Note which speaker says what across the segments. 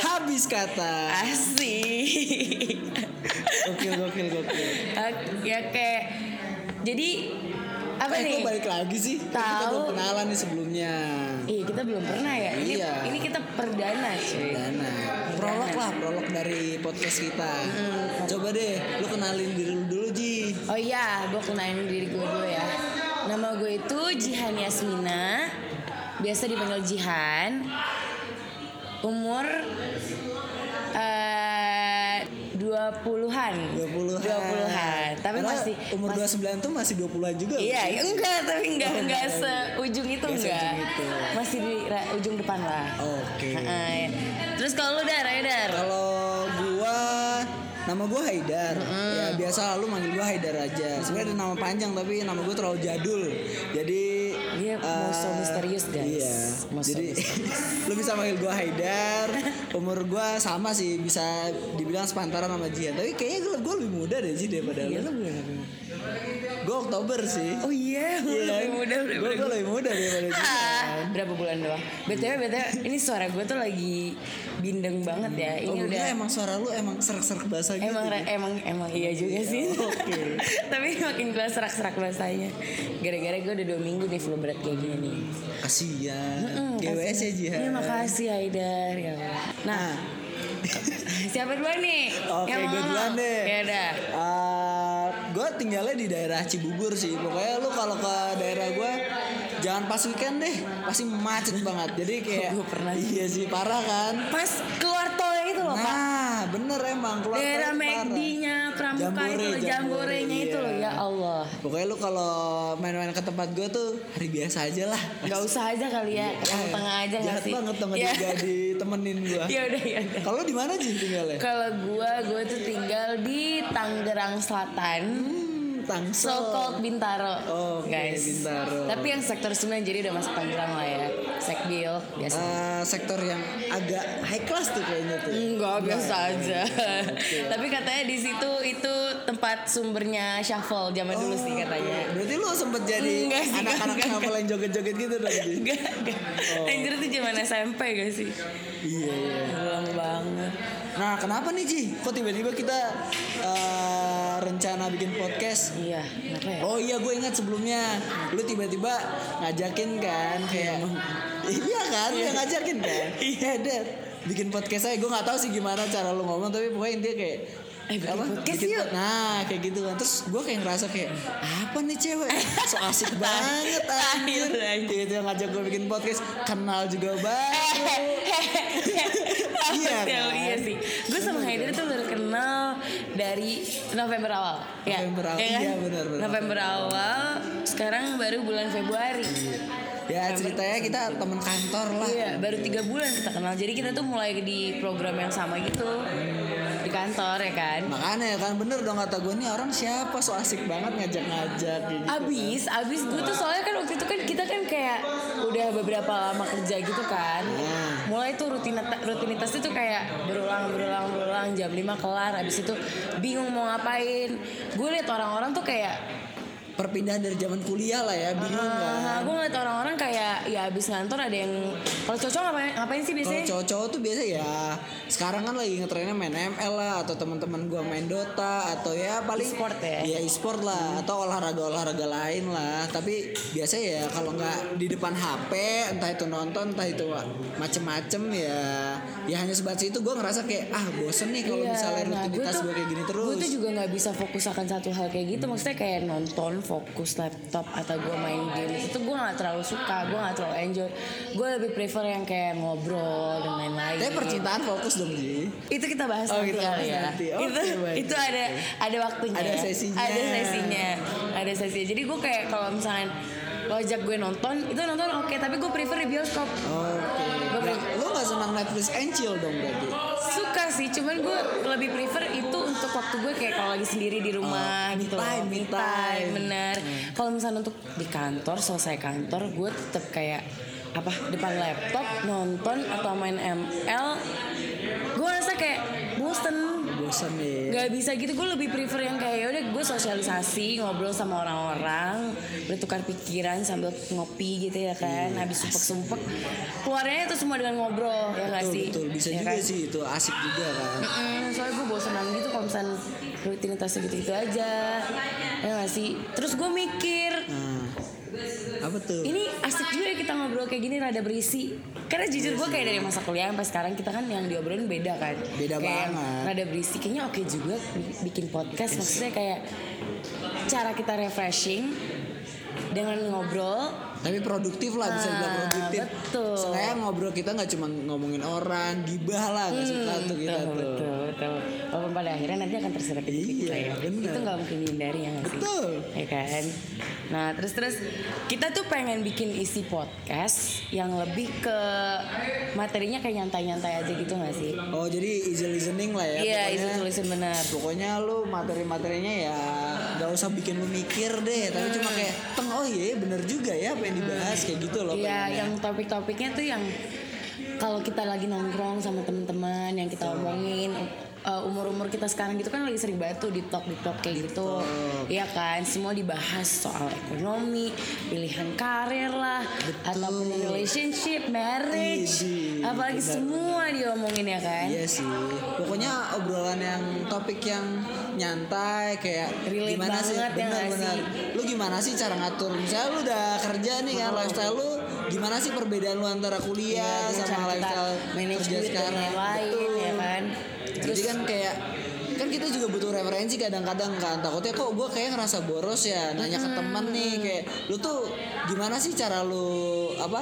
Speaker 1: habis kata.
Speaker 2: Asik.
Speaker 1: Gokil gokil gokil.
Speaker 2: Ak- ya kayak jadi apa
Speaker 1: eh,
Speaker 2: nih?
Speaker 1: kok balik lagi sih? Kan Kita
Speaker 2: Tahu.
Speaker 1: belum kenalan nih sebelumnya.
Speaker 2: Iya kita belum pernah ya. Ini
Speaker 1: Iya.
Speaker 2: ini kita perdana cuy.
Speaker 1: Dana. Prolog lah, prolog dari podcast kita. Coba deh, lu kenalin diri lu dulu Ji.
Speaker 2: Oh iya, gue kenalin diri gue dulu ya. Nama gue itu Jihan Yasmina, biasa dipanggil Jihan. Umur eh 20-an.
Speaker 1: 20-an.
Speaker 2: 20-an. Tapi
Speaker 1: Padahal
Speaker 2: masih
Speaker 1: umur
Speaker 2: masih-
Speaker 1: 29 tuh masih 20-an juga. loh.
Speaker 2: Iya, ya enggak, tapi enggak
Speaker 1: Oh,
Speaker 2: enggak
Speaker 1: enggak,
Speaker 2: seujung itu
Speaker 1: Enggak
Speaker 2: enggak.
Speaker 1: seujung itu.
Speaker 2: Masih di ra- ujung depan lah.
Speaker 1: Oke.
Speaker 2: Heeh, ya. Terus kalau lu Dar, ayo Dar.
Speaker 1: Kalau gua nama gua Haidar. Ya biasa lu manggil gua Haidar aja. Sebenarnya ada nama panjang tapi nama gua terlalu jadul. Jadi
Speaker 2: Dia mau so
Speaker 1: eh,
Speaker 2: misterius, guys.
Speaker 1: Iya.
Speaker 2: Mau so
Speaker 1: Jadi lu bisa manggil gua Haidar. Umur gua sama sih bisa dibilang sepantaran sama Jihan. Tapi kayaknya gua, gua lebih muda deh Ji daripada
Speaker 2: Iya,
Speaker 1: lu.
Speaker 2: lu bilang apa?
Speaker 1: Gua Oktober sih.
Speaker 2: Oh iya, lu
Speaker 1: Iya.
Speaker 2: lebih muda
Speaker 1: Gua-
Speaker 2: daripada
Speaker 1: gua lebih muda daripada Jihan.
Speaker 2: Ah, berapa bulan doang btw btw ini suara gue tuh lagi bindeng banget ya ini
Speaker 1: Oh, gua
Speaker 2: udah
Speaker 1: kira emang suara lu emang serak-serak bahasa gitu.
Speaker 2: emang ra- emang emang iya juga sih
Speaker 1: Oke.
Speaker 2: tapi makin gue serak-serak bahasanya gara-gara gue udah dua minggu nih full berat kayak gini nih
Speaker 1: Kasihan.
Speaker 2: Hmm,
Speaker 1: GWS ya
Speaker 2: kasih.
Speaker 1: Jihan.
Speaker 2: Iya, makasih Haidar ya Allah. nah
Speaker 1: Nah,
Speaker 2: siapa dua nih
Speaker 1: Ah. Oke,
Speaker 2: Yang mau
Speaker 1: gue
Speaker 2: ngomong?
Speaker 1: duluan deh.
Speaker 2: ya udah
Speaker 1: gue tinggalnya di daerah Cibubur sih. Pokoknya lu kalau ke daerah gue jangan pas weekend deh, pasti macet banget. Jadi kayak
Speaker 2: Gua pernah sih.
Speaker 1: Iya sih, parah kan?
Speaker 2: pas keluar tol itu loh pak
Speaker 1: Nah, bener emang keluar
Speaker 2: daerah
Speaker 1: tol parah.
Speaker 2: McD-nya Pramuka
Speaker 1: Jambore,
Speaker 2: itu loh,
Speaker 1: Jambore,
Speaker 2: jamborenya itu
Speaker 1: iya.
Speaker 2: loh ya Allah
Speaker 1: Pokoknya lu kalau main-main ke tempat gue tuh hari biasa aja lah.
Speaker 2: Gak usah aja kali ya,
Speaker 1: Eh,
Speaker 2: yang tengah aja nggak
Speaker 1: jahat
Speaker 2: sih?
Speaker 1: banget dong
Speaker 2: ya.
Speaker 1: jadi ditemenin gue.
Speaker 2: ya udah ya udah.
Speaker 1: Kalau di mana sih tinggalnya?
Speaker 2: Kalau gua, gua tuh tinggal di Tangerang Selatan,
Speaker 1: Hmm, Tangsel.
Speaker 2: so called Bintaro,
Speaker 1: Oke,
Speaker 2: guys.
Speaker 1: Bintaro.
Speaker 2: Tapi yang sektor 9 jadi udah masuk Tangerang lah ya, sekbil biasa.
Speaker 1: Eh, sektor yang agak high class tuh kayaknya tuh. Nah,
Speaker 2: Enggak biasa aja.
Speaker 1: iya, oke.
Speaker 2: Tapi katanya di situ itu tempat sumbernya shuffle zaman dulu
Speaker 1: Oh.
Speaker 2: sih katanya.
Speaker 1: Berarti lu sempet jadi
Speaker 2: Enggak sih,
Speaker 1: anak-anak
Speaker 2: enggak,
Speaker 1: yang yang joget-joget gitu dong. Ji?
Speaker 2: Enggak, enggak. Anjir itu zaman SMP gak sih?
Speaker 1: Oh. iya, iya.
Speaker 2: Lama banget.
Speaker 1: Nah, kenapa nih Ji? Kok tiba-tiba kita eh, rencana bikin podcast?
Speaker 2: Iya, kenapa ya?
Speaker 1: Oh iya, gue ingat sebelumnya lu tiba-tiba ngajakin kan kayak Iya kan, yang ngajakin kan. Iya, Dad. Bikin podcast saya, gue nggak tahu sih gimana cara lu ngomong, tapi pokoknya intinya kayak
Speaker 2: Eh, bikin podcast
Speaker 1: Bikin
Speaker 2: yuk.
Speaker 1: pod- Nah kayak gitu kan Terus gue kayak ngerasa kayak Apa nih cewek So asik banget anjir
Speaker 2: Tai, tai.
Speaker 1: Gitu yang ngajak gue bikin podcast Kenal juga baru Iya
Speaker 2: iya,
Speaker 1: kan?
Speaker 2: iya sih. Gue sama Haider tuh baru kenal dari November awal. Ya,
Speaker 1: November awal,
Speaker 2: kan?
Speaker 1: iya, benar, benar.
Speaker 2: November awal, sekarang baru bulan Februari.
Speaker 1: Ya ceritanya kita temen kantor lah
Speaker 2: Iya, baru tiga bulan kita kenal. Jadi kita tuh mulai di program yang sama gitu di kantor ya kan.
Speaker 1: Makanya ya kan bener dong kata gue nih orang siapa so asik banget ngajak-ngajak kayak gitu.
Speaker 2: Abis, abis gue tuh soalnya kan waktu itu kan kita kan kayak udah beberapa lama kerja gitu kan Mulai tuh rutinita- rutinitas itu kayak berulang, berulang, berulang jam 5 kelar Abis itu bingung mau ngapain Gue liat orang-orang tuh kayak
Speaker 1: Perpindahan dari zaman kuliah lah ya bingung kan.
Speaker 2: Gue ngeliat orang-orang kayak ya abis ngantor ada yang Kalau cocok ngapain, ngapain sih
Speaker 1: Kalau
Speaker 2: biasanya?
Speaker 1: cowok-cowok tuh biasa ya sekarang kan lagi ngetrennya main ML lah atau teman-teman gua main Dota atau ya paling
Speaker 2: E-sport ya?
Speaker 1: Iya e-sport lah atau olahraga-olahraga lain lah. Tapi biasa ya kalau nggak di depan HP entah itu nonton entah itu macem-macem ya ya hanya sebatas itu gua ngerasa kayak ah bosen nih kalau misalnya rutinitas gua kayak gini terus.
Speaker 2: Gue Iya, nah, tuh juga nggak bisa fokus akan satu hal kayak gitu. Maksudnya kayak nonton, fokus laptop atau gue main game itu gue nggak terlalu suka, gue nggak terlalu enjoy. Gue lebih prefer yang kayak ngobrol dan lain-lain.
Speaker 1: Tapi percintaan
Speaker 2: gitu.
Speaker 1: fokus dong Ji.
Speaker 2: itu kita bahas
Speaker 1: Oh,
Speaker 2: nanti
Speaker 1: kita
Speaker 2: kali
Speaker 1: bahas
Speaker 2: ya.
Speaker 1: nanti.
Speaker 2: itu
Speaker 1: Oke, baik.
Speaker 2: itu ada ada waktunya.
Speaker 1: Ada
Speaker 2: ya.
Speaker 1: sesinya.
Speaker 2: Ada sesinya. Ada sesinya. Jadi gue kayak kalau misalnya lo ajak gue nonton, itu nonton oke, tapi gue prefer di bioskop.
Speaker 1: Oke.
Speaker 2: Gua
Speaker 1: Nah, lu nggak senang Netflix and chill dong berarti.
Speaker 2: suka sih cuman gue lebih prefer itu untuk waktu gue kayak kalau lagi sendiri di rumah
Speaker 1: Oh, me
Speaker 2: gitu
Speaker 1: time, me time. Hmm.
Speaker 2: bener kalau misalnya untuk di kantor selesai kantor gue tetap kayak apa depan laptop nonton atau main ML gue rasa kayak bosen
Speaker 1: bosen ya
Speaker 2: nggak bisa gitu gue lebih prefer yang kayak ya udah gue sosialisasi ngobrol sama orang-orang bertukar pikiran sambil ngopi gitu ya kan
Speaker 1: Iya,
Speaker 2: habis sumpek-sumpek keluarnya itu semua dengan ngobrol ya nggak
Speaker 1: betul,
Speaker 2: sih
Speaker 1: betul bisa
Speaker 2: Ya
Speaker 1: juga
Speaker 2: kan?
Speaker 1: sih itu asik juga kan
Speaker 2: Mm-mm, soalnya gue bosenan gitu kalau misalnya rutinitasnya gitu-gitu aja ya nggak sih terus gue mikir
Speaker 1: nah apa tuh
Speaker 2: ini asik juga ya kita ngobrol kayak gini rada berisi karena
Speaker 1: Iya
Speaker 2: jujur gue kayak dari masa kuliah sampai sekarang kita kan yang diobrolin beda kan
Speaker 1: Beda
Speaker 2: Kayak yang
Speaker 1: banget. Iya
Speaker 2: rada berisi kayaknya oke juga bi- bikin podcast maksudnya kayak cara kita refreshing dengan ngobrol
Speaker 1: tapi produktif lah bisa dibilang
Speaker 2: Ah,
Speaker 1: produktif
Speaker 2: betul.
Speaker 1: saya ngobrol kita nggak cuma ngomongin orang gibah lah nggak suka tuh kita
Speaker 2: Hmm, betul,
Speaker 1: tuh
Speaker 2: betul betul walaupun pada akhirnya nanti akan terserap di
Speaker 1: Iya,
Speaker 2: kita ya
Speaker 1: bener.
Speaker 2: itu nggak mungkin dihindari ya nggak sih
Speaker 1: Betul.
Speaker 2: ya kan nah terus terus kita tuh pengen bikin isi podcast yang lebih ke materinya kayak nyantai nyantai aja gitu nggak sih
Speaker 1: oh jadi easy listening lah ya
Speaker 2: iya itu
Speaker 1: pokoknya.
Speaker 2: tulisan benar
Speaker 1: Pokoknya lu materi-materinya ya nggak usah bikin lu mikir deh,
Speaker 2: Hmm.
Speaker 1: tapi cuma kayak teng oh iya bener juga ya apa yang dibahas kayak gitu loh.
Speaker 2: Iya,
Speaker 1: pengennya.
Speaker 2: yang topik-topiknya tuh yang kalau kita lagi nongkrong sama teman-teman yang kita omongin uh, umur-umur kita sekarang gitu kan lagi sering banget tuh di talk di talk kayak gitu. Iya kan, semua dibahas soal ekonomi, pilihan karir lah, ataupun relationship, marriage,
Speaker 1: Iji,
Speaker 2: apalagi semua diomongin ya kan.
Speaker 1: Iya sih. Pokoknya obrolan yang topik yang nyantai kayak
Speaker 2: Relate
Speaker 1: gimana sih
Speaker 2: banget ya nggak
Speaker 1: benar-benar. Lu gimana sih cara ngatur? Misalnya lu udah kerja nih kan lifestyle lu gimana sih perbedaan lu antara kuliah
Speaker 2: Iya, Gimana
Speaker 1: sama
Speaker 2: cara kita
Speaker 1: lifestyle
Speaker 2: manage
Speaker 1: kerja
Speaker 2: duit dan
Speaker 1: sekarang?
Speaker 2: lain-lain ya kan.
Speaker 1: Terus
Speaker 2: Terus
Speaker 1: kan kayak kan kita juga butuh referensi kadang-kadang kan takutnya kok gue kayak ngerasa boros ya nanya ke temen nih kayak lu tuh gimana sih cara lu apa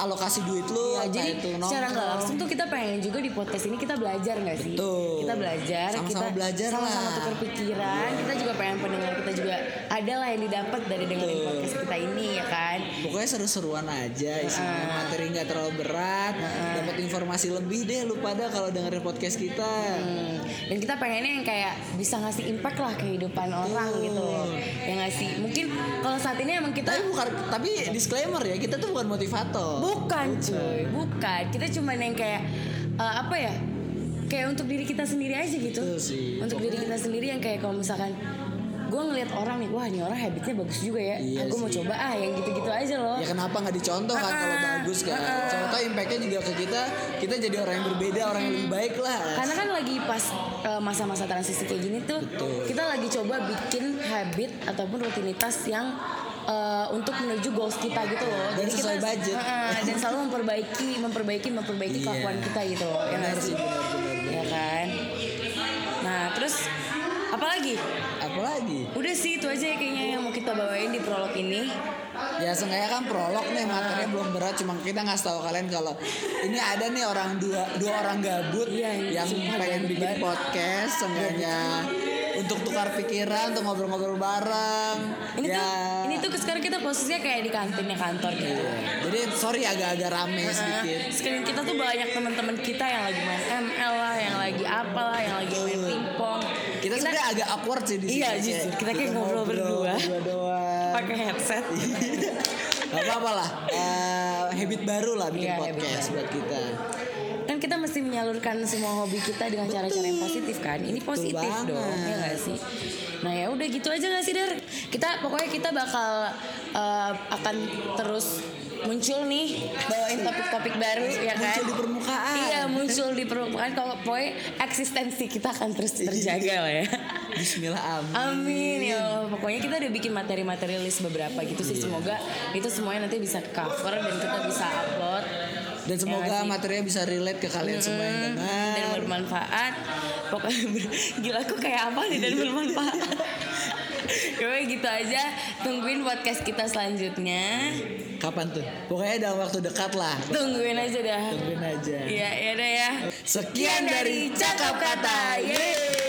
Speaker 1: alokasi duit lu
Speaker 2: Ya,
Speaker 1: entah
Speaker 2: jadi
Speaker 1: itu
Speaker 2: secara nggak
Speaker 1: nongkrong.
Speaker 2: langsung tuh kita pengen juga di podcast ini kita belajar nggak sih?
Speaker 1: Betul.
Speaker 2: Kita belajar,
Speaker 1: Sama-sama
Speaker 2: kita
Speaker 1: belajar
Speaker 2: sama-sama
Speaker 1: lah.
Speaker 2: tukar pikiran. Kita juga pengen pendengar kita juga ada lah yang didapat dari dengerin podcast kita ini ya kan?
Speaker 1: pokoknya seru-seruan aja isinya materi nggak terlalu berat dapat informasi lebih deh lu pada kalau dengerin podcast kita
Speaker 2: Hmm, Dan kita pengennya yang kayak bisa ngasih impact lah kehidupan orang gitu, yang ngasih mungkin kalau saat ini emang kita
Speaker 1: tapi bukan tapi disclaimer ya kita tuh bukan motivator
Speaker 2: Bukan cuy, bukan. Kita cuman yang kayak eh, apa ya? Kayak untuk diri kita sendiri aja gitu.
Speaker 1: Betul sih.
Speaker 2: Untuk diri kita sendiri yang kayak kalau misalkan gue ngelihat orang nih, wah ini orang habitnya bagus juga ya.
Speaker 1: Iya
Speaker 2: Aku mau
Speaker 1: sih.
Speaker 2: coba ah yang gitu-gitu aja loh.
Speaker 1: ya kenapa nggak dicontoh kan kalau
Speaker 2: Ah-ah.
Speaker 1: bagus kan Contoh tau impactnya juga ke kita kita jadi orang yang berbeda orang yang lebih baik lah
Speaker 2: Karena kan lagi pas eh, masa-masa transisi kayak gini tuh, kita lagi coba bikin habit ataupun rutinitas yang eh, untuk menuju goals kita gitu loh.
Speaker 1: Dan
Speaker 2: kita
Speaker 1: sesuai budget.
Speaker 2: Heeh, dan selalu memperbaiki, memperbaiki, memperbaiki
Speaker 1: Iya.
Speaker 2: kelakuan kita gitu loh. Ya nggak
Speaker 1: benar
Speaker 2: sih?
Speaker 1: sih benar benar benar.
Speaker 2: ya kan nah terus apalagi
Speaker 1: apalagi
Speaker 2: udah sih itu aja ya kayaknya yang mau kita bawain di prolog ini
Speaker 1: ya seenggaknya kan prolog nih materinya belum berat cuma kita ngasih tahu kalian kalau ini ada nih orang dua dua orang gabut
Speaker 2: Iya, ini
Speaker 1: yang
Speaker 2: sumpah
Speaker 1: pengen
Speaker 2: gabut
Speaker 1: bikin
Speaker 2: banget.
Speaker 1: podcast seenggaknya untuk tukar pikiran untuk ngobrol-ngobrol bareng
Speaker 2: ini
Speaker 1: ya
Speaker 2: tuh ini tuh sekarang kita posisinya kayak di kantinnya kantor gitu
Speaker 1: jadi sorry agak-agak rame sedikit
Speaker 2: Sekalian kita tuh banyak teman-teman kita yang lagi main ML lah, yang lagi apalah, yang lagi main pingpong.
Speaker 1: kita, sebenarnya agak awkward sih di sini
Speaker 2: Iya, jujur. Kita kayak ngobrol berdua.
Speaker 1: berdua doang
Speaker 2: pakai headset.
Speaker 1: Gak apa-apa lah Eh, habit baru lah bikin
Speaker 2: Iya, habit
Speaker 1: podcast buat kita
Speaker 2: kan kita mesti menyalurkan semua hobi kita dengan cara-cara yang positif kan ini positif
Speaker 1: banget.
Speaker 2: dong ya gak sih nah ya udah gitu aja gak sih dar kita pokoknya kita bakal eh, akan terus muncul nih bawain topik-topik baru ya kan
Speaker 1: muncul di permukaan
Speaker 2: iya muncul di permukaan kalau pokoknya eksistensi kita akan terus terjaga lah ya
Speaker 1: Bismillah amin Iya.
Speaker 2: Amin ya Allah. Pokoknya kita udah bikin materi-materi list beberapa gitu sih. Semoga itu semuanya nanti bisa cover dan kita bisa upload.
Speaker 1: Dan
Speaker 2: Iya
Speaker 1: semoga materinya bisa relate ke kalian semua yang dengar.
Speaker 2: dan bermanfaat pokoknya ber- gila aku kayak apa nih dan bermanfaat Pokoknya gitu aja tungguin podcast kita selanjutnya
Speaker 1: Kapan tuh? Pokoknya dalam waktu dekat lah.
Speaker 2: tungguin aja dah
Speaker 1: Tungguin aja.
Speaker 2: Iya, ya udah ya
Speaker 1: Sekian dari Cakap Kata. Yeay.